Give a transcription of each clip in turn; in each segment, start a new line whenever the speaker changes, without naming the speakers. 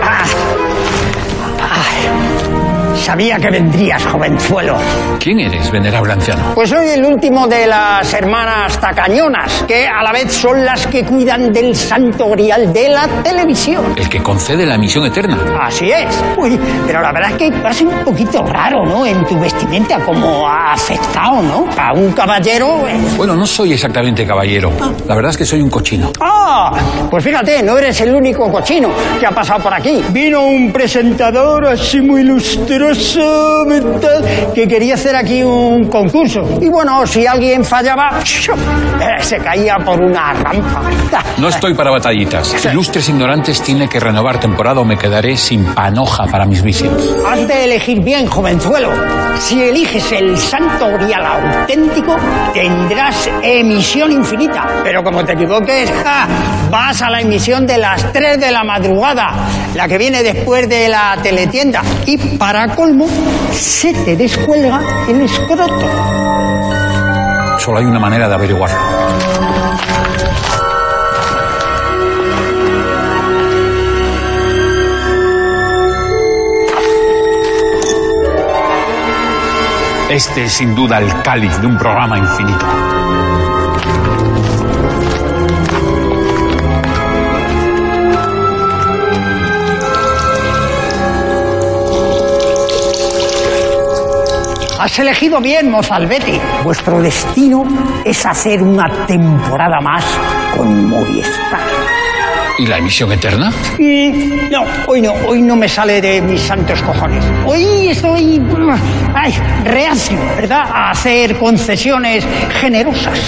Ah. Sabía que vendrías, jovenzuelo.
¿Quién eres, venerable anciano?
Pues soy el último de las hermanas tacañonas, que a la vez son las que cuidan del santo grial de la televisión.
El que concede la misión eterna.
Así es. Uy, pero la verdad es que vas un poquito raro, ¿no? En tu vestimenta, como afectado, ¿no? A un caballero. eh.
Bueno, no soy exactamente caballero. La verdad es que soy un cochino.
¡Ah! Pues fíjate, no eres el único cochino que ha pasado por aquí. Vino un presentador así muy lustroso tal, que quería hacer aquí un concurso. Y bueno, si alguien fallaba, se caía por una rampa.
No estoy para batallitas. Ilustres ignorantes tiene que renovar temporada o me quedaré sin panoja para mis vicios.
Has de elegir bien, jovenzuelo. Si eliges el santo grial auténtico, tendrás emisión infinita. Pero como te equivoques, ¡ja! vas a la emisión de las 3 de la madrugada, la que viene después de la teletienda. Y para colmo, se te descuelga el escroto.
Solo hay una manera de averiguarlo. Este es sin duda el cáliz de un programa infinito.
Has elegido bien, Mozalbeti. Vuestro destino es hacer una temporada más con Movistar.
¿Y la emisión eterna?
Mm, No, hoy no, hoy no me sale de mis santos cojones. Hoy estoy mm, ay, reacio, ¿verdad? A hacer concesiones generosas.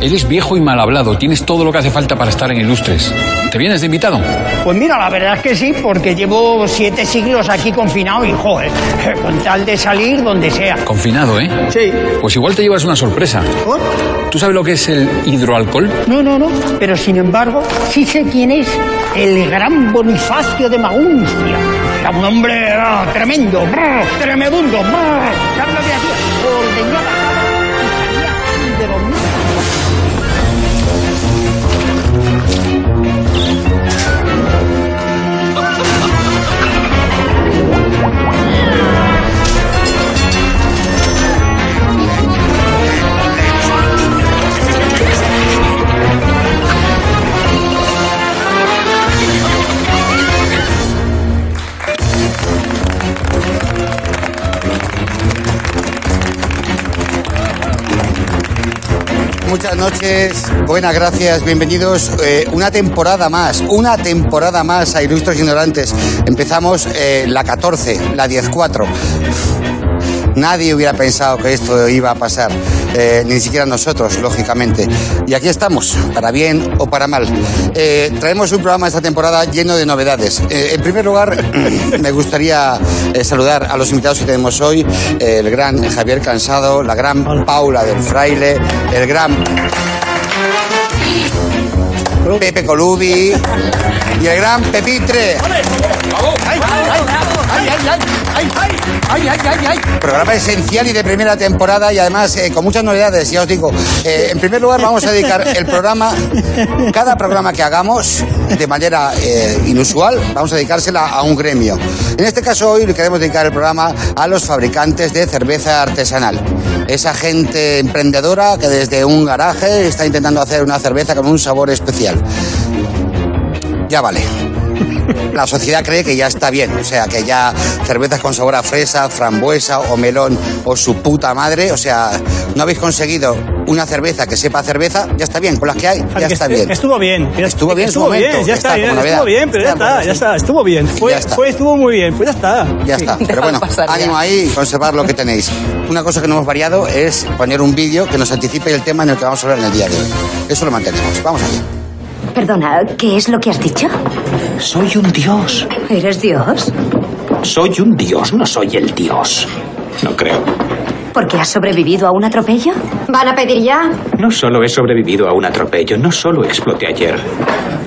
Eres viejo y mal hablado. Tienes todo lo que hace falta para estar en Ilustres. ¿Te vienes de invitado?
Pues mira, la verdad es que sí, porque llevo siete siglos aquí confinado y joder, con tal de salir donde sea.
Confinado, ¿eh?
Sí.
Pues igual te llevas una sorpresa.
¿Por?
¿Tú sabes lo que es el hidroalcohol?
No, no, no, pero sin embargo, sí sé quién es el gran Bonifacio de Maguncia. Era un hombre ah, tremendo, brr, tremebundo, brr, ya lo que hacía, ordenaba y salía de los mismos.
Muchas noches, buenas gracias, bienvenidos. eh, una temporada más, una temporada más a Ilustres Ignorantes. Empezamos eh, la 14, la 14. Nadie hubiera pensado que esto iba a pasar, eh, ni siquiera nosotros, lógicamente. Y aquí estamos, para bien o para mal. Eh, traemos un programa esta temporada lleno de novedades. Eh, en primer lugar, me gustaría eh, saludar a los invitados que tenemos hoy, eh, el gran Javier Cansado, la gran Paula del Fraile, el gran Pepe Colubi y el gran Pepitre. Programa esencial y de primera temporada y además eh, con muchas novedades, ya os digo. Eh, en primer lugar vamos a dedicar el programa, cada programa que hagamos de manera eh, inusual, vamos a dedicársela a un gremio. En este caso hoy le queremos dedicar el programa a los fabricantes de cerveza artesanal. Esa gente emprendedora que desde un garaje está intentando hacer una cerveza con un sabor especial. Ya vale. La sociedad cree que ya está bien, o sea, que ya cervezas con sabor a fresa, frambuesa o melón o su puta madre, o sea, no habéis conseguido una cerveza que sepa a cerveza, ya está bien, con las que hay, ya
Que
está
estu-
bien.
Estuvo bien. Ya-
Estuvo bien en su
Estuvo
momento,
bien,
ya
ya
está,
está, ya-
como novedad.
estuvo bien, pero ya
Está,
está,
bueno,
ya
sí.
está, estuvo bien. Fue,
Ya está.
fue- estuvo muy bien, pues ya está.
Ya está, pero bueno, ánimo ahí, conservar lo que tenéis. Una cosa que no hemos variado es poner un vídeo que nos anticipe el tema en el que vamos a hablar en el día de hoy. Eso lo mantenemos, vamos allá.
Perdona, ¿qué es lo que has dicho?
Soy un dios.
¿Eres Dios?
Soy un dios, no soy el dios. No creo.
¿Porque has sobrevivido a un atropello? ¿Van a pedir ya?
No solo he sobrevivido a un atropello, no solo exploté ayer.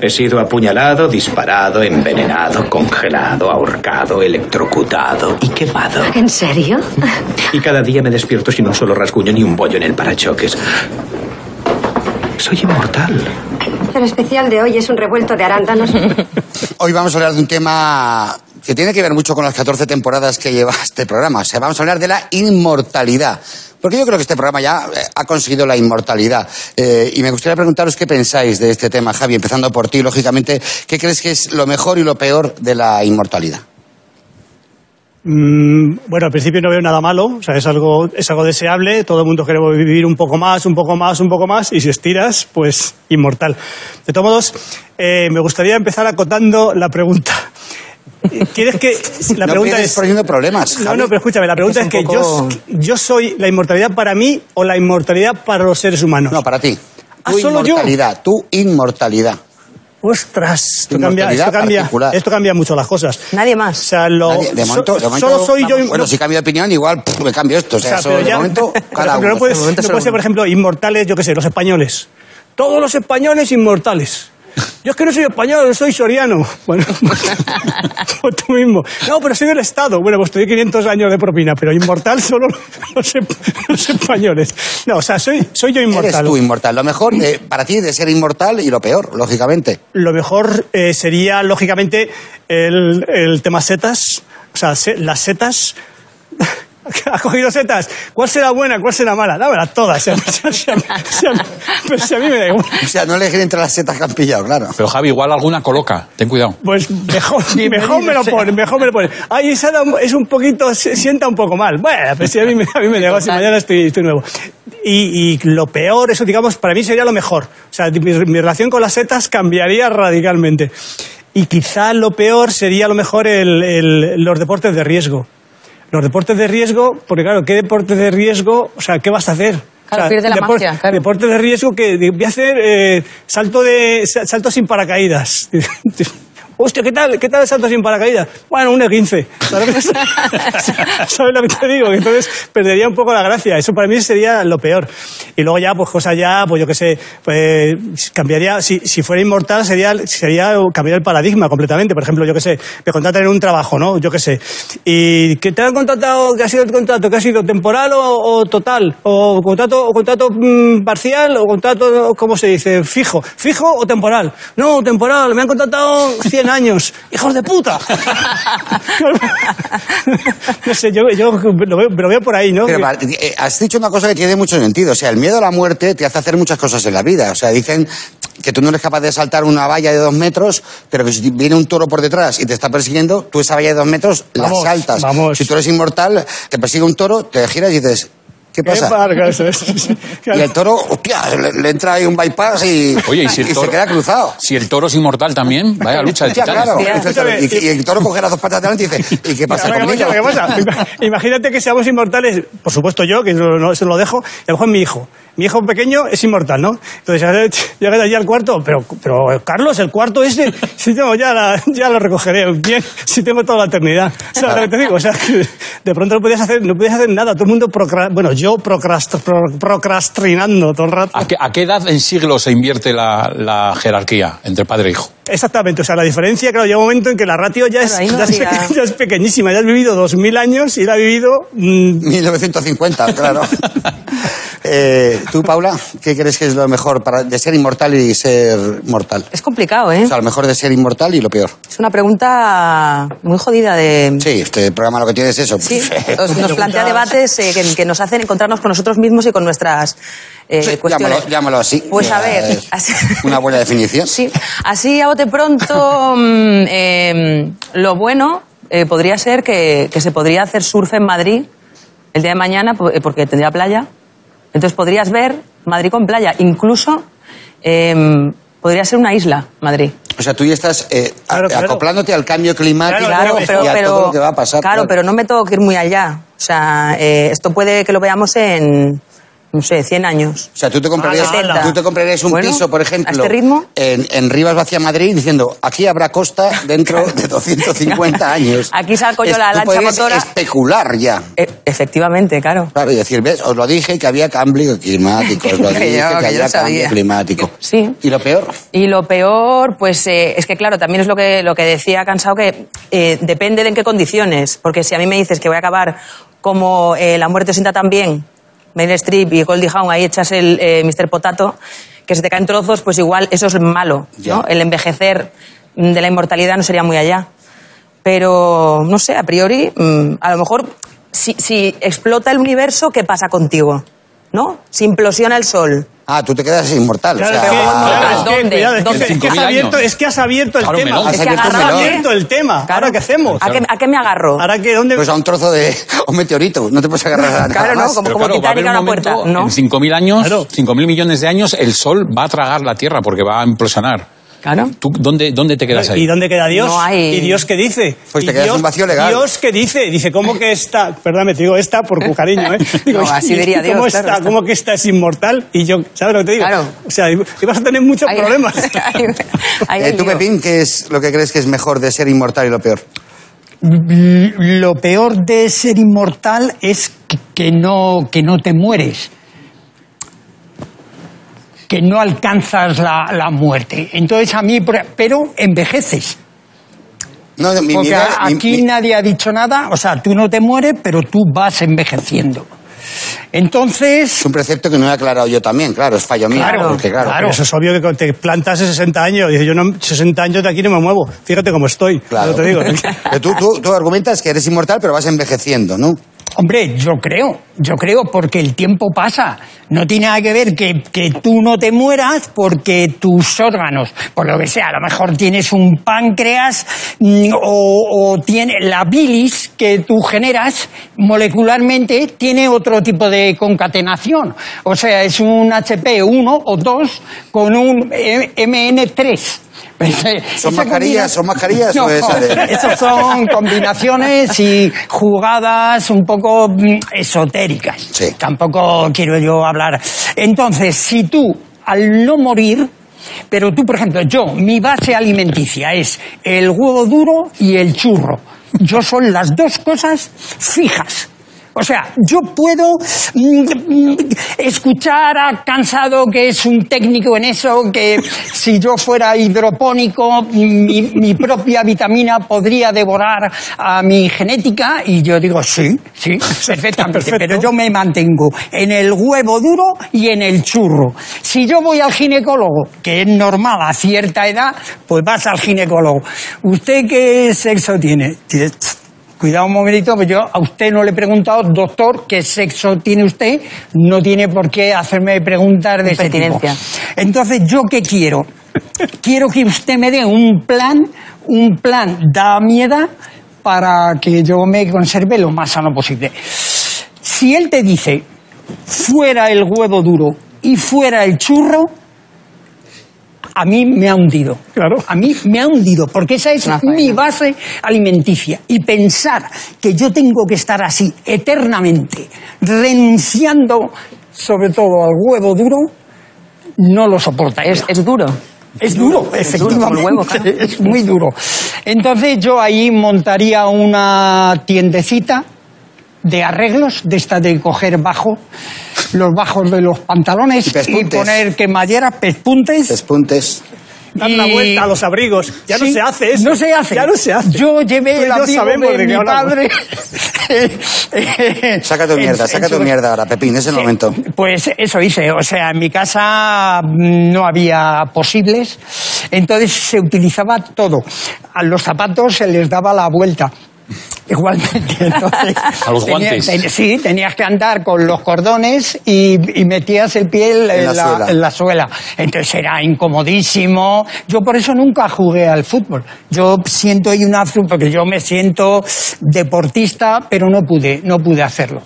He sido apuñalado, disparado, envenenado, congelado, ahorcado, electrocutado y quemado.
¿En serio?
Y cada día me despierto sin un solo rasguño ni un bollo en el parachoques. Soy inmortal.
El especial de hoy es un revuelto de arándanos.
Hoy vamos a hablar de un tema que tiene que ver mucho con las 14 temporadas que lleva este programa. O sea, vamos a hablar de la inmortalidad. Porque yo creo que este programa ya eh, ha conseguido la inmortalidad. Eh, y me gustaría preguntaros qué pensáis de este tema, Javi, empezando por ti, lógicamente. ¿Qué crees que es lo mejor y lo peor de la inmortalidad?
Mm, bueno, al principio no veo nada malo, o sea, es algo, es algo deseable, todo el mundo queremos vivir un poco más, un poco más, un poco más, y si estiras, pues inmortal. De todos modos, eh, me gustaría empezar acotando la pregunta. ¿Quieres que la
no
pregunta
pienses
es
poniendo problemas,
No,
Javi.
no, pero escúchame, la pregunta es,
Es un
que
poco-
yo, yo soy la inmortalidad para mí o la inmortalidad para los seres humanos.
No, para ti.
Ah,
Tu
¿solo yo?
inmortalidad, tu inmortalidad.
Ostras, esto cambia,
Inmortalidad
esto, cambia,
particular.
esto cambia mucho las cosas.
Nadie
O
más.
sea, lo-
Nadie- de
so-
momento, de momento-
solo soy yo.
vamos, Bueno,
no-
si cambio de opinión, igual pff, me cambio esto. O
O
sea,
sea,
solo
pero
de
ya-
momento,
pero
cada uno.
no puedes,
De momento
no
solo
puedes ser,
uno.
por ejemplo, inmortales, yo qué sé, los españoles. Todos los españoles inmortales. Yo es que no soy español, soy soriano. Bueno, o tú mismo. No, pero soy del Estado. Bueno, pues te doy 500 años de propina, pero inmortal solo los, esp- los españoles. No, o sea, soy, soy yo
Eres
inmortal.
tú inmortal. Lo mejor de- para ti de ser inmortal y lo peor, lógicamente.
Lo mejor eh, sería, lógicamente, el, el tema setas. O sea, se- las setas. ¿Has cogido setas? ¿Cuál será buena? ¿Cuál será mala? Dámelas todas. Si a, mí- si a mí- si a mí- pero si a mí me da igual.
O sea, no elegir entre las setas que han pillado, claro.
Pero Javi, igual alguna coloca. Ten cuidado.
Pues mejor, mejor me lo pones, mejor me lo pones. Ay, esa da un- es un poquito, se- sienta un poco mal. Bueno, pues si a mí, me- a mí me da igual, si mañana estoy, estoy nuevo. Y, y lo peor, eso digamos, para mí sería lo mejor. O sea, mi, mi relación con las setas cambiaría radicalmente. Y quizá lo peor sería a lo mejor el- el- los deportes de riesgo. Los deportes de riesgo, porque claro, ¿qué deportes de riesgo? O sea, ¿qué vas a hacer?
Claro,
O sea,
pierde la magia, claro.
Deportes de riesgo que de- voy a hacer eh, salto, de, sa- salto sin paracaídas. Hostia, ¿qué tal, ¿qué tal el salto sin paracaídas? Bueno, un 15. ¿Sabes ¿Sabes lo que te digo? Que Entonces perdería un poco la gracia. Eso para mí sería lo peor. Y luego ya, pues cosas ya, pues yo qué sé, pues cambiaría, si, si fuera inmortal sería, sería cambiar el paradigma completamente. Por ejemplo, yo qué sé, me contratan en un trabajo, ¿no? Yo qué sé. ¿Y que te han contratado, que ha sido el contrato, que ha sido temporal o, o total? ¿O contrato, o contrato mm, parcial o contrato, ¿cómo se dice? Fijo. ¿Fijo o temporal? No, temporal, me han contratado 100 años. ¡Hijos de puta! no sé, yo, yo lo, veo, lo veo por ahí, ¿no?
Pero
Que-
para- eh, has dicho una cosa que tiene mucho sentido. O sea, el miedo a la muerte te hace hacer muchas cosas en la vida. O sea, dicen que tú no eres capaz de saltar una valla de dos metros, pero que si viene un toro por detrás y te está persiguiendo, tú esa valla de dos metros
Vamos,
la saltas.
vamos.
Si tú eres inmortal, te persigue un toro, te giras y dices, ¿qué
Qué
pasa?
parca, eso es.
Y el toro, hostia, le, le entra ahí un bypass y,
Oye, y si el
y
toro-
se queda cruzado.
Si el toro es inmortal también, vaya lucha de
Hostia,
titanes.
claro.
Hostia.
Exactamente.
eh,
Y, y el toro coge las dos patas delante y dice, ¿y qué pasa
Ahora, ¿qué
conmigo?
pasa? pues, ¿Qué pasa? Imagínate que seamos inmortales, por supuesto yo, que eso no, eso no lo dejo, y a lo mejor mi hijo. Mi hijo pequeño es inmortal, ¿no? Entonces ahora llegas allí al cuarto, pero, pero eh, Carlos, el cuarto ese, sí, no, ya, la- ya lo recogeré bien, si tengo toda la eternidad. ¿Sabes lo que te digo? O sea, que de pronto no podías hacer, no podías hacer nada, todo el mundo procra- bueno, yo procrast- pro- procrastinando todo el rato.
Ah.
¿A qué, a qué edad en siglos se invierte la, la jerarquía entre padre e hijo?
Exactamente, o sea, la diferencia, claro, llega un momento en que la ratio ya es,
Claro, ahí no
ya es,
habría-
ya es pequeñísima, ya has vivido 2.000 años y la has vivido mm,
1950, claro. Eh, Tú, Paula, ¿qué crees que es lo mejor para, de ser inmortal y ser mortal?
Es complicado, ¿eh?
O sea, lo mejor de ser inmortal y lo peor.
Es una pregunta muy jodida de...
Sí, este programa lo que tiene es eso.
Sí, eh, nos, nos plantea debates eh, que, que nos hacen encontrarnos con nosotros mismos y con nuestras eh,
Sí,
cuestiones.
llámalo- llámalo así.
Pues
Ya
a ver,
es
así-
una buena definición.
Sí, así a bote pronto, mm, eh, lo bueno eh, podría ser que, que se podría hacer surf en Madrid el día de mañana po- eh, porque tendría playa. Entonces podrías ver Madrid con playa, incluso eh, podría ser una isla, Madrid.
O sea, tú ya estás eh, a-
Claro, claro.
acoplándote al cambio climático
Claro,
y
pero,
a
pero-
todo lo que va a pasar.
Claro, pero no me tengo que ir muy allá. O sea, eh, esto puede que lo veamos en, no sé, 100 años.
O sea, tú te comprarías,
Ah, la-
tú te comprarías un
Bueno,
piso, por ejemplo,
¿a este ritmo?
En, en Rivas Vacía Madrid, diciendo, aquí habrá costa dentro de 250 años.
Aquí saco yo la
tú
lancha
podrías
motora.
especular ya.
E- efectivamente, claro.
Claro, y decir, ves, os lo dije que había cambio climático, os lo
Que
dije que,
yo- que yo
había cambio
sabía.
climático.
Sí.
¿Y lo peor?
Y lo peor, pues eh, es que claro, también es lo que, lo que decía Cansado, que eh, depende de en qué condiciones. Porque si a mí me dices que voy a acabar como eh, La muerte os sienta tan bien, Meryl Streep y Goldie Hawn, ahí echas el eh, Mr. Potato, que se te caen trozos, pues igual eso es malo.
Ya.
¿no? El envejecer mm, de la inmortalidad no sería muy allá. Pero, no sé, a priori, mm, a lo mejor, si, si explota el universo, ¿qué pasa contigo? ¿No? Si implosiona el sol.
Ah, tú te quedas inmortal.
Claro,
o sea,
es que,
ah,
claro, es que,
¿Dónde?
cuidado, es que-
¿Dónde?
es que has
5.000
abierto,
años.
es que has abierto el
Claro,
tema.
melón.
Has
Es que
abierto un
Has
agarraba
melón.
abierto el tema.
Claro.
¿Ahora qué hacemos?
¿A qué, a qué me agarro?
¿Ahora qué? ¿Dónde?
Pues a un trozo de. a un meteorito. No te puedes agarrar a nada
Claro, no,
más.
como-
Pero claro, va a haber
Titanic a
un
una
momento,
puerta, ¿no?
en 5.000 años,
Claro.
5.000 millones de años, el sol va a tragar la Tierra porque va a implosionar.
Claro.
¿Tú dónde, dónde te quedas ahí?
¿Y dónde queda Dios?
No hay-
¿Y Dios qué dice?
Pues te
¿Y
quedas
Dios-
un vacío legal.
¿Dios qué dice? Dice, ¿cómo que esta? Perdóname, te digo esta por tu cariño, ¿eh?
No, así diría
¿y ¿Cómo
Dios, claro,
está?
está.
¿Cómo que esta es inmortal? Y yo, ¿sabes lo que te digo?
Claro.
O sea, ibas a tener muchos
Ahí-
problemas.
ahí- ahí
Eh,
el
¿Tú,
lío.
Pepín, qué es lo que crees que es mejor de ser inmortal y lo peor?
Lo peor de ser inmortal es que- que no, que no te mueres, que no alcanzas la, la muerte. Entonces a mí, por- e, pero envejeces.
No, no, mi- mi
Porque
idea- mi-
aquí
mi-
nadie ha dicho nada, o sea, tú no te mueres, pero tú vas envejeciendo.
es
Entonces,
un precepto que no he aclarado yo también, claro, es fallo mío.
Claro,
porque, claro.
claro.
Pero eso es obvio que cuando te plantas de 60 años. Dice, yo no, 60 años de aquí no me muevo. Fíjate cómo estoy.
Claro.
Yo te digo.
Pero tú, tú- tú argumentas que eres inmortal, pero vas envejeciendo, ¿no?
Hombre, yo creo, yo creo, porque el tiempo pasa. No tiene nada que ver que, que tú no te mueras porque tus órganos, por lo que sea, a lo mejor tienes un páncreas mm, o, o tiene la bilis que tú generas molecularmente tiene otro tipo de concatenación. O sea, es un HP1 o 2 con un eh, MN3.
¿Son
Esa
mascarillas?
combina-
¿Son mascarillas o
No,
esa de-
esas son combinaciones y jugadas un poco mm, esotéricas.
Sí.
Tampoco quiero yo hablar. Entonces, si tú, al no morir, pero tú, por ejemplo, yo, mi base alimenticia es el huevo duro y el churro. Yo son las dos cosas fijas. O sea, yo puedo mm, mm, escuchar a Cansado, que es un técnico en eso, que si yo fuera hidropónico, mi, mi propia vitamina podría devorar a mi genética. Y yo digo, sí, sí, perfectamente. Pero yo me mantengo en el huevo duro y en el churro. Si yo voy al ginecólogo, que es normal a cierta edad, pues vas al ginecólogo. ¿Usted qué sexo tiene? Dice, "Tss, Cuidado un momentito, que yo a usted no le he preguntado, doctor, qué sexo tiene usted, no tiene por qué hacerme preguntas de ese tipo.
Impertinencia.
Entonces, ¿yo qué quiero? Quiero que usted me dé un plan, un plan da miedo para que yo me conserve lo más sano posible. Si él te dice, fuera el huevo duro y fuera el churro, a mí me ha hundido.
Claro.
A mí me ha hundido, porque esa es
Una faena.
mi base alimenticia. Y pensar que yo tengo que estar así eternamente, renunciando sobre todo al huevo duro, no lo soporta.
Es, es duro.
Es duro, efectivamente.
como el huevo, claro.
Es muy duro. Entonces yo ahí montaría una tiendecita de arreglos, de estas de coger bajo, los bajos de los pantalones
Y
y
pespuntes.
poner quemalleras, pespuntes.
Despuntes.
Dar la
y-
vuelta a los abrigos. Ya no
Sí,
se hace eso.
No se hace.
Ya no se hace.
Yo llevé
Tú y
el
yo
abrigo
sabemos
de,
de qué
mi
hablamos.
padre.
Saca tu
En-
mierda,
en
saca tu
su-
mierda ahora, Pepín, es el
Sí,
momento.
Pues eso hice. O sea, en mi casa mm, no había posibles, entonces se utilizaba todo. A los zapatos se les daba la vuelta. Igualmente, entonces.
A los
tenía-
guantes.
ten- sí, tenías que andar con los cordones y, y metías el pie en,
En la suela.
en la suela. Entonces era incomodísimo. Yo por eso nunca jugué al fútbol. Yo siento ahí una fru- porque yo me siento deportista, pero no pude, no pude hacerlo.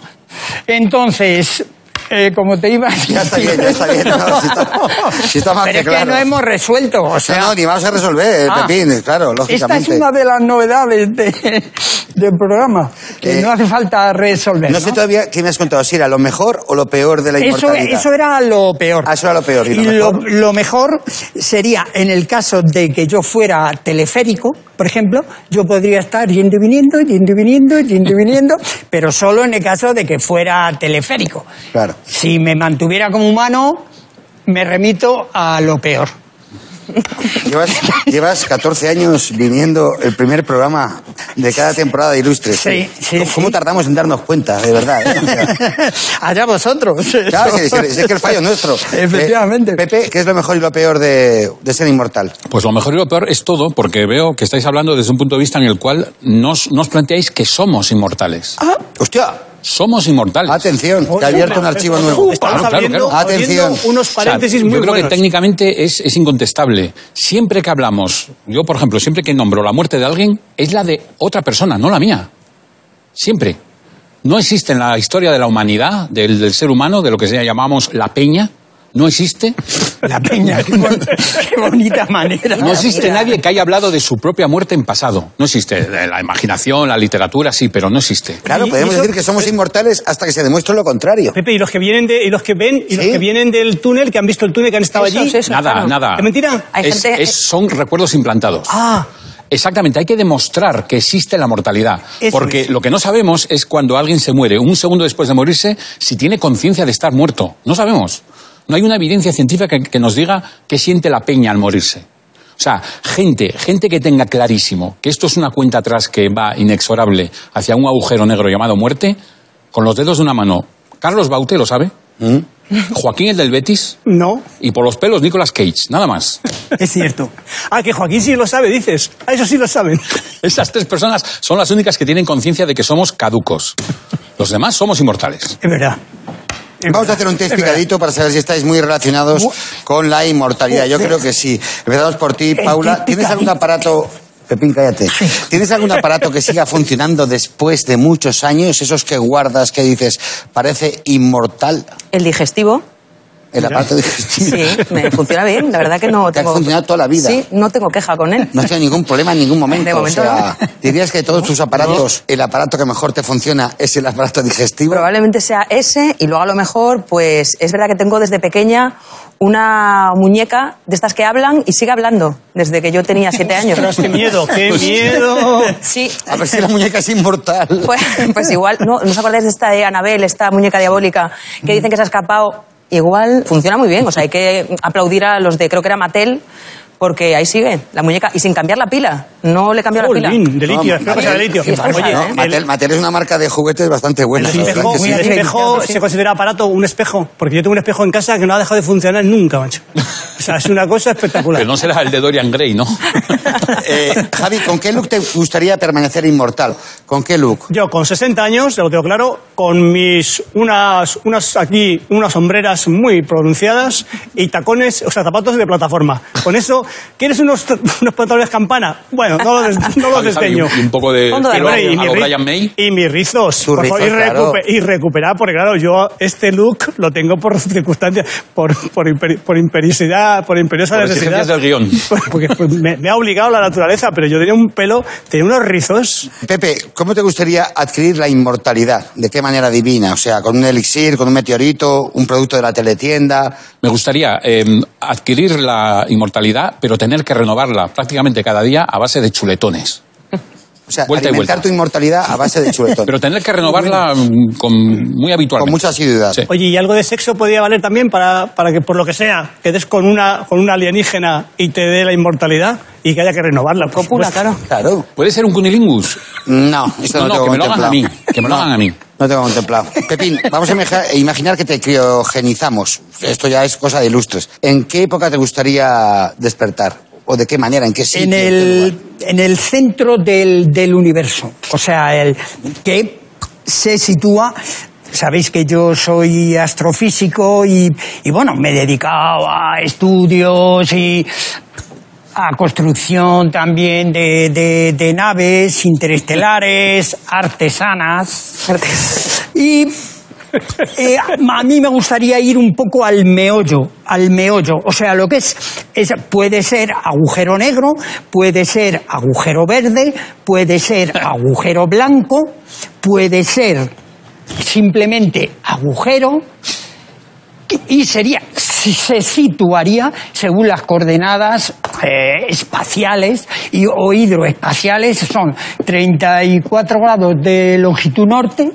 Entonces, eh, como te iba a decir.
Ya está bien, ya está bien. No, si está, si está más
Pero
que
es que
claro.
no hemos resuelto, o sea.
No, no, ni vamos a resolver, eh,
Ah,
Pepín, claro,
Esta
lógicamente.
es una de las novedades de- del programa, que
Eh,
no hace falta resolver.
No sé todavía qué me has contado, si era lo mejor o lo peor de la
Eso,
inmortalidad.
eso era lo peor.
Ah, eso era lo peor, ¿y lo mejor?
lo mejor sería, en el caso de que yo fuera teleférico, por ejemplo, yo podría estar yendo y viniendo, yendo y viniendo, yendo y viniendo, pero solo en el caso de que fuera teleférico.
Claro.
Si me mantuviera como humano, me remito a lo peor.
Llevas, llevas 14 años viniendo el primer programa de cada temporada de Ilustres.
Sí, sí,
¿Cómo,
sí.
cómo tardamos en darnos cuenta, de verdad? eh? O sea,
Allá vosotros.
claro, es, es- es que el fallo es nuestro.
Efectivamente.
Eh, Pepe, ¿qué es lo mejor y lo peor de, de ser inmortal?
Pues lo mejor y lo peor es todo, porque veo que estáis hablando desde un punto de vista en el cual nos, nos planteáis que somos inmortales.
Hostia,
somos inmortales.
atención, que ha abierto un archivo nuevo.
Estamos
Claro, claro,
abriendo-
claro.
abriendo
Atención.
unos
O sea,
paréntesis muy
yo creo
buenos.
que técnicamente es, es incontestable. Siempre que hablamos, yo por ejemplo, siempre que nombro la muerte de alguien, es la de otra persona, no la mía. Siempre. No existe en la historia de la humanidad, del, del ser humano, de lo que se llamamos la peña, no existe.
La peña, qué, bon- qué bonita manera.
No existe nadie que haya hablado de su propia muerte en pasado. No existe. La imaginación, la literatura, sí, pero no existe.
Claro,
Y-
podemos
y eso- Eh,
decir que somos inmortales hasta que se demuestre lo contrario.
Pepe, y los que vienen de, y los que ven, y los
Sí.
que vienen del túnel, que han visto el túnel, que han estado
Eso,
allí.
eso,
nada,
claro.
nada.
¿Es mentira?
Hay
Es-
gente-
es- son recuerdos implantados.
Ah,
Exactamente, hay que demostrar que existe la mortalidad.
Eso
porque
es.
lo que no sabemos es cuando alguien se muere, un segundo después de morirse, si tiene conciencia de estar muerto. No sabemos. No hay una evidencia científica que, que nos diga qué siente la peña al morirse. O sea, gente, gente que tenga clarísimo que esto es una cuenta atrás que va inexorable hacia un agujero negro llamado muerte, con los dedos de una mano. Carlos Baute lo sabe. Joaquín el del Betis.
no.
Y por los pelos Nicolas Cage, nada más.
Es cierto. Ah, que Joaquín sí lo sabe, dices. Ah, eso sí lo saben.
Esas tres personas son las únicas que tienen conciencia de que somos caducos. Los demás somos inmortales.
Es verdad. Es
Vamos a
verdad.
hacer un test
Es verdad.
picadito para saber si estáis muy relacionados con la
Uh,
inmortalidad. Yo creo que sí. Empezamos por ti, Paula. ¿Tienes algún aparato... Pepín, cállate. ¿Tienes algún aparato que siga funcionando después de muchos años? Esos que guardas, que dices, parece inmortal
El digestivo,
el aparato digestivo.
sí, me funciona bien. La verdad que no
Te ha
tengo.
funcionado toda la vida.
Sí, no tengo queja con él.
No has tenido ningún problema en ningún momento.
De momento
o sea, dirías que de todos tus aparatos, el aparato que mejor te funciona es el aparato digestivo.
Probablemente sea ese y luego a lo mejor, pues es verdad que tengo desde pequeña una muñeca de estas que hablan y sigue hablando desde que yo tenía siete años.
Ostras, qué miedo, qué
Pues
miedo.
Sí.
A ver si la muñeca es inmortal.
Pues, pues igual, no, ¿no os acordáis de esta de Anabel, esta muñeca diabólica que dicen que se ha escapado? Igual funciona muy bien, o sea, hay que aplaudir a los de, creo que era Mattel, porque ahí sigue la muñeca y sin cambiar la pila, no le cambió la pila.
Jolín, Oh, de
No,
litio, espero que sea de litio.
sí, es
Oye,
verdad, ¿eh?
No,
el-
Mattel, Mattel es una marca de juguetes bastante buena.
El
la verdad
espejo,
que sí.
el espejo se considera aparato un espejo, porque yo tengo un espejo en casa que no ha dejado de funcionar nunca, macho. O sea, es una cosa espectacular.
Pero no será el de Dorian Gray, ¿no?
Eh, Javi, ¿con qué look te gustaría permanecer inmortal? ¿Con qué look?
Yo con 60 años, ya lo tengo claro, con mis unas unas aquí unas sombreras muy pronunciadas y tacones, o sea, zapatos de plataforma. Con eso, ¿quieres unos unos pantalones campana? Bueno, no los, des- no los
Javi, Javi,
desdeño.
Y un poco de
Fondo de
pelo a
Hombre, y,
lo
mis
Brian May.
y mis rizos,
Tus
por favor,
rizos,
y,
claro.
recupe- y recuperar, porque claro, yo este look lo tengo por circunstancias, por, por, imperi- por impericidad, por imperiosa
Por
necesidad.
exigencias del guión.
Porque pues, me, me ha obligado la naturaleza, pero yo tenía un pelo, tenía unos rizos.
Pepe, ¿cómo te gustaría adquirir la inmortalidad? ¿De qué manera divina? O sea, con un elixir, con un meteorito, un producto de la teletienda.
Me gustaría eh, adquirir la inmortalidad, pero tener que renovarla prácticamente cada día a base de chuletones.
O sea,
Vuelta y
alimentar
vuelta.
tu inmortalidad a base de chuletón.
Pero tener que renovarla mm, con, muy habitualmente.
con mucha asiduidad.
Sí.
Oye, ¿y algo de sexo podría valer también para, para que, por lo que sea, quedes con una, con una alienígena y te dé la inmortalidad y que haya que renovarla? por
pues,
Cópula,
supuesto?
claro.
Claro.
¿Puede ser un cunilingus?
No, esto no,
No, no,
tengo
que me lo hagan
contemplado.
a mí, que me lo
No,
hagan a mí.
No tengo contemplado. Pepín, vamos a imaja- imaginar que te criogenizamos. Esto ya es cosa de ilustres. ¿En qué época te gustaría despertar? ¿O de qué manera? ¿En qué sitio?
en
qué
el,
lugar?
en el centro del, del universo. O sea, el que se sitúa. Sabéis que yo soy astrofísico y, y bueno, me he dedicado a estudios y a construcción también de, de- de naves interestelares, artesanas. Y eh, a mí me gustaría ir un poco al meollo, al meollo. O sea, lo que es, es- puede ser agujero negro, puede ser agujero verde, puede ser agujero blanco, puede ser simplemente agujero. Y sería, si se situaría según las coordenadas eh, espaciales y, o hidroespaciales, son 34 grados de longitud norte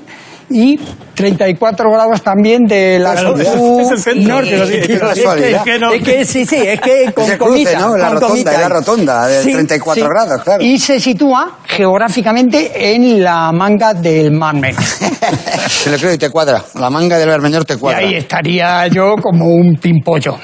y 34 grados también de la
Casualidad.
latitud
Es el centro.
norte.
Qué
Es que-
casualidad.
es que no- es que sí, sí, es que con
el cruce,
comita,
¿no? La
con
rotonda,
comita.
es la rotonda de 34 grados, claro.
Y se sitúa geográficamente en la manga del Mar Negro.
Te lo creo y te cuadra. La manga del Bermeñor te
Y
cuadra.
ahí estaría yo como un pimpollo.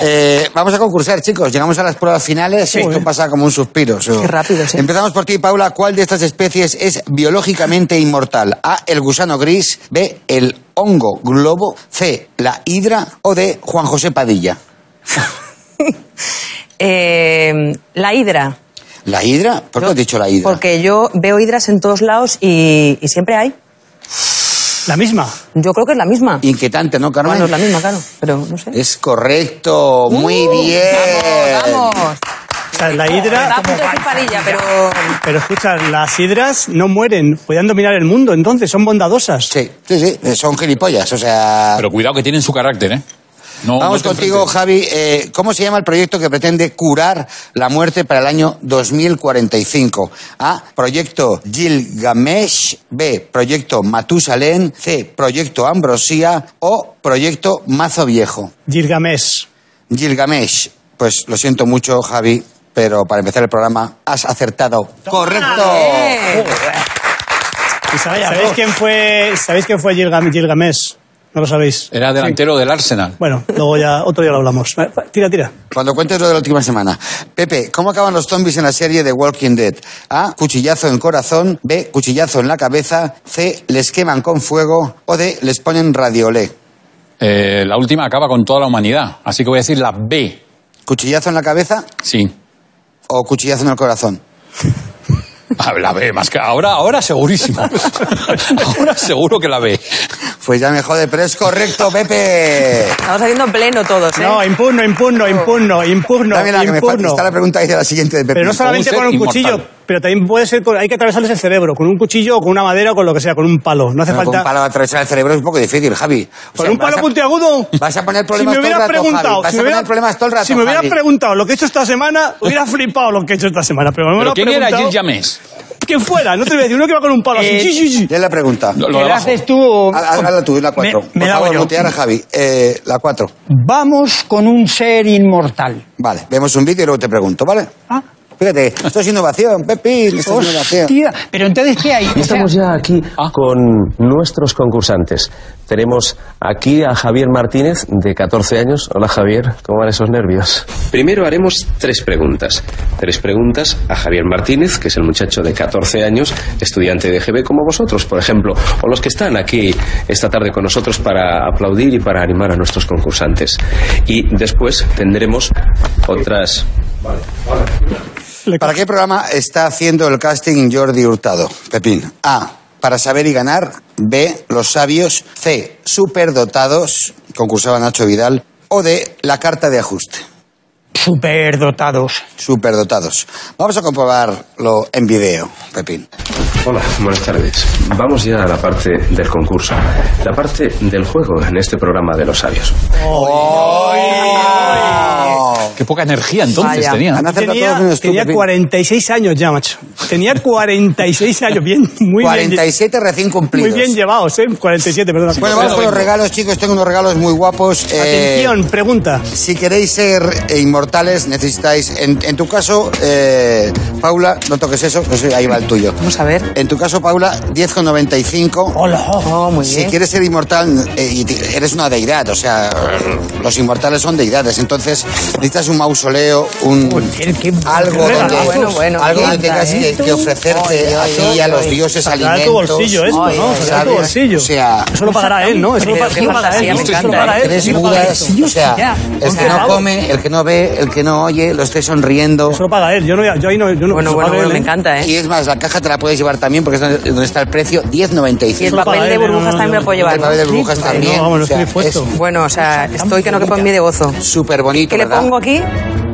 Eh, vamos a concursar, chicos. Llegamos a las pruebas finales. Esto pasa como un suspiro. Su-
Qué rápido, sí.
Empezamos por ti, Paula. ¿Cuál de estas especies es biológicamente inmortal? A. El gusano gris. B. El hongo globo. C. La hidra. O D. Juan José Padilla.
Eh, la hidra.
¿La hidra? ¿Por qué
Yo-
has dicho la hidra?
Porque yo veo hidras en todos lados y, y siempre hay.
La misma.
Yo creo que es la misma.
Inquietante, ¿no, Carmen?
Bueno, es la misma, ¿eh? claro. Pero no sé. Uh,
Es correcto. Muy bien.
Vamos, vamos.
O sea, la hidra.
Estaba a punto de decir parilla, pero
Pero escucha, las hidras no mueren. Podían dominar el mundo, entonces, son bondadosas.
Sí, sí, sí. eh, Son gilipollas. O sea.
Pero cuidado que tienen su carácter, ¿eh? No, no
Ah. Vamos
te
contigo,
enfrentes.
Javi. Eh, ¿Cómo se llama el proyecto que pretende curar la muerte para el año 2045? A. Proyecto Gilgamesh. B. Proyecto Matusalén. C. Proyecto Ambrosía. O Proyecto Mazo Viejo.
Gilgamesh.
Gilgamesh. Pues lo siento mucho, Javi, pero para empezar el programa has acertado. ¡Correcto!
¿Y sabéis, sabéis quién fue, ¿Sabéis quién fue Gilgam- Gilgamesh? No lo sabéis.
Eh.
Era delantero del Arsenal.
Bueno, luego ya, otro día lo hablamos. Eh, Tira, tira.
Cuando cuentes lo de la última semana. Pepe, ¿cómo acaban los zombies en la serie de Walking Dead? A. Cuchillazo en corazón. B. Cuchillazo en la cabeza. C. Les queman con fuego. O D. Les ponen radiolé.
Eh, la última acaba con toda la humanidad. Así que voy a decir la B.
¿Cuchillazo en la cabeza
Sí.
o cuchillazo en el corazón?
Ah, La B, más que. Ahora, ahora segurísimo. ahora seguro que la B.
Pues ya me jode, pero es correcto, Pepe.
estamos haciendo pleno todos, ¿eh?
No, impugno, impugno, impugno, impugno,
Dame la que me falta.
impugno.
Está la pregunta ahí de la siguiente de Pepe.
Pero no solamente
ser
con un cuchillo,
inmortal.
pero también puede ser con, hay que atravesarles el cerebro, con un cuchillo o con una madera o con lo que sea, con un palo. No hace
Bueno, con
falta.
un palo atravesar el cerebro es un poco difícil, Javi. O
¿Con
sea,
un palo
vas a-
puntiagudo?
Vas a poner problemas
si me
todo el
hubieras
rato,
preguntado,
Javi. Vas a
si me
poner
hubieras,
problemas todo el rato,
Si me hubieras
Javi.
preguntado lo que he hecho esta semana, hubiera flipado lo que he hecho esta semana. Pero me
¿Pero
lo
quién
preguntado,
era Gil James?
Quien fuera, no te voy a decir uno que va con un palo así.
Eh,
sí, sí, sí.
Ya es la pregunta.
Lo, lo
¿Qué
de abajo.
haces tú?
Haz- Hazla tú, es la 4.
Me- me
Por
la hago
favor,
yo.
mutear a Javi. Eh, la 4.
Vamos con un ser inmortal.
Vale, vemos un vídeo y luego te pregunto, ¿vale?
Ah.
Fíjate, esto es innovación, Pepín, esto es innovación.
Hostia, pero entonces, ¿qué hay? O sea,
Estamos ya aquí
Ah.
con nuestros concursantes. Tenemos aquí a Javier Martínez, de 14 años. Hola Javier, ¿cómo van esos nervios? Primero haremos tres preguntas. Tres preguntas a Javier Martínez, que es el muchacho de 14 años, estudiante de GB como vosotros, por ejemplo, o los que están aquí esta tarde con nosotros para aplaudir y para animar a nuestros concursantes. Y después tendremos otras
¿Para qué programa está haciendo el casting Jordi Hurtado, Pepín? A. Para saber y ganar. B. Los sabios. C. Superdotados. Concursaba Nacho Vidal. O D. La carta de ajuste.
Superdotados.
Superdotados. Vamos a comprobarlo en video, Pepín.
Hola, buenas tardes. Vamos ya a la parte del concurso, la parte del juego en este programa de los sabios.
Qué poca energía entonces
Vaya.
tenía.
Han acertado
Tenía,
todos menos tú,
tenía
Pepín.
46 años ya, macho. Tenía 46 años, bien, muy bien.
47 recién
Muy
cumplidos.
bien llevados, ¿eh? 47, perdón.
Bueno, vamos con los regalos, chicos. Tengo unos regalos muy guapos. Eh,
Atención, pregunta.
Si queréis ser eh, inmortales, necesitáis. En, en tu caso, eh, Paula, no toques eso, no sé, ahí va el tuyo.
Vamos a ver.
En tu caso, Paula, 10,95.
Hola.
Oh, muy
Si
bien.
quieres ser inmortal, eh, y te- eres una deidad, o sea, los inmortales son deidades. Entonces, necesitas un mausoleo, un.
qué- qué
algo
regalo.
donde,
Bueno, bueno,
algo
me
donde
encanta,
tengas que,
¿eh?
que ofrecerte
Ay,
a
ay,
ti y
ay,
a los
ay.
dioses
Saldrá de
alimentos.
tu bolsillo esto,
Ay,
¿no?
ay,
Saldrá de tu
eh, ¿sabes?
bolsillo.
O sea-
Eso lo pagará él, ¿no? Eso lo,
Pero
pa-
qué
eso lo pagará
fantasía,
él.
me
Eso lo
encanta,
pagará
¿eh?
él.
Tres
Eso lo pagará él.
mudas, o sea,
ya.
el que no
Bravo.
come, el que no ve, el que no oye, los tres sonriendo.
Eso lo paga él. Yo, no, voy a- yo ahí no. Yo no
Bueno,
eso paga
bueno, bueno,
él,
me
¿eh?
encanta, ¿eh?
Y es más, la caja te la puedes llevar también porque es donde está el precio,
Y el
10.95.
paga
papel de
él, no,
burbujas
no,
también
no.
me lo puedo
El papel de
llevar.
burbujas
Sí,
también.
no, vamos, no estoy
es
dispuesto.
Bueno, o sea, estoy que no quepo en mí de gozo.
súper bonito,
¿Qué le
¿verdad?
pongo aquí?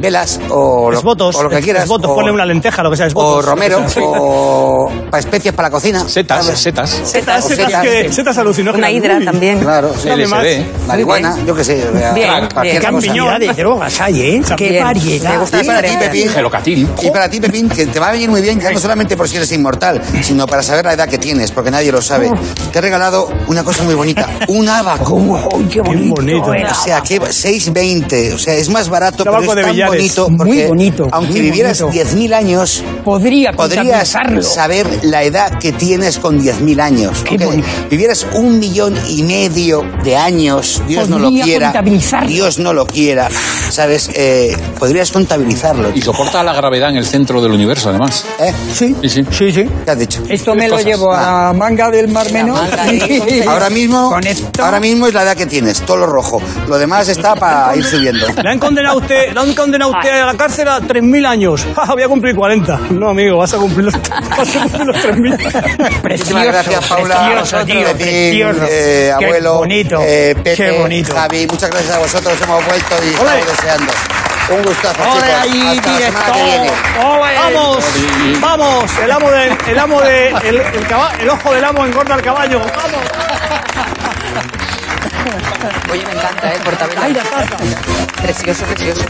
velas o lo,
Esbotos,
o lo que quieras.
esbotos,
o-
ponle una lenteja, lo que sea, esbotos.
O romero,
Lo que sea.
o pa- especias para la cocina.
Setas,
¿sabes?
setas.
Setas,
o
setas,
setas.
que- setas alucinógenas.
Una hidra
Uy.
también.
Claro, sí.
Dame más.
LSD.
Marihuana, yo qué sé. vea,
Bien,
cualquier
bien.
cosa.
Champiñón.
de drogas hay, ¿eh? Qué
Bien. Me
variedad.
gusta
Y para ti,
diferente.
Pepín,
Gelocatil.
Oh.
y para ti, Pepín, que te va a venir muy bien, ya no solamente por si eres inmortal, sino para saber la edad que tienes, porque nadie lo sabe. Te he regalado una cosa muy bonita, un abaco.
Oh. Uy, qué bonito. eh,
bonito.
era.
O sea, que 6,20. O sea, es más barato,
Tabaco
pero es
de
tan bonito.
billares.
Muy
Porque
bonito,
Aunque
muy
vivieras
bonito.
10.000 años,
Podría
podrías
contabilizarlo.
saber la edad que tienes con 10.000 años.
Qué
¿ok?
bonito.
Vivieras un millón y medio de años, Dios no lo
Podría
quiera.
contabilizarlo.
Dios no lo quiera. ¿Sabes? Eh, podrías contabilizarlo.
Y soporta la gravedad en el centro del universo, además.
¿Eh?
Sí,
Sí, sí.
sí, sí.
¿Qué has dicho?
Esto me
Cosas.
lo llevo
Ah.
a Manga del Mar Menor.
manga ahí,
Ahora mismo,
Con esto-
ahora mismo es la edad que tienes, todo lo rojo. Lo demás está para ir subiendo.
Le han condenado a usted, le han condenado a usted a la cárcel a 3.000 años. Ja, ja, voy a cumplir 40. No, amigo, vas a cumplir los, vas a cumplir los 3.000.
Muchísimas gracias, Paula.
precioso, tío,
Pepín,
precioso.
eh,
Qué
abuelo,
bonito,
eh, Pepe,
qué bonito.
Javi, muchas gracias a vosotros. Hemos vuelto y estamos deseando. Un gustazo, chicos.
Ole ahí,
Hasta la semana que viene.
Vamos, vamos, el amo de, el amo de, el, el caba- el ojo del amo engorda al caballo. Vamos.
Oye, me encanta, ¿eh? Portabella.
Ay, la taza.
Precioso, precioso.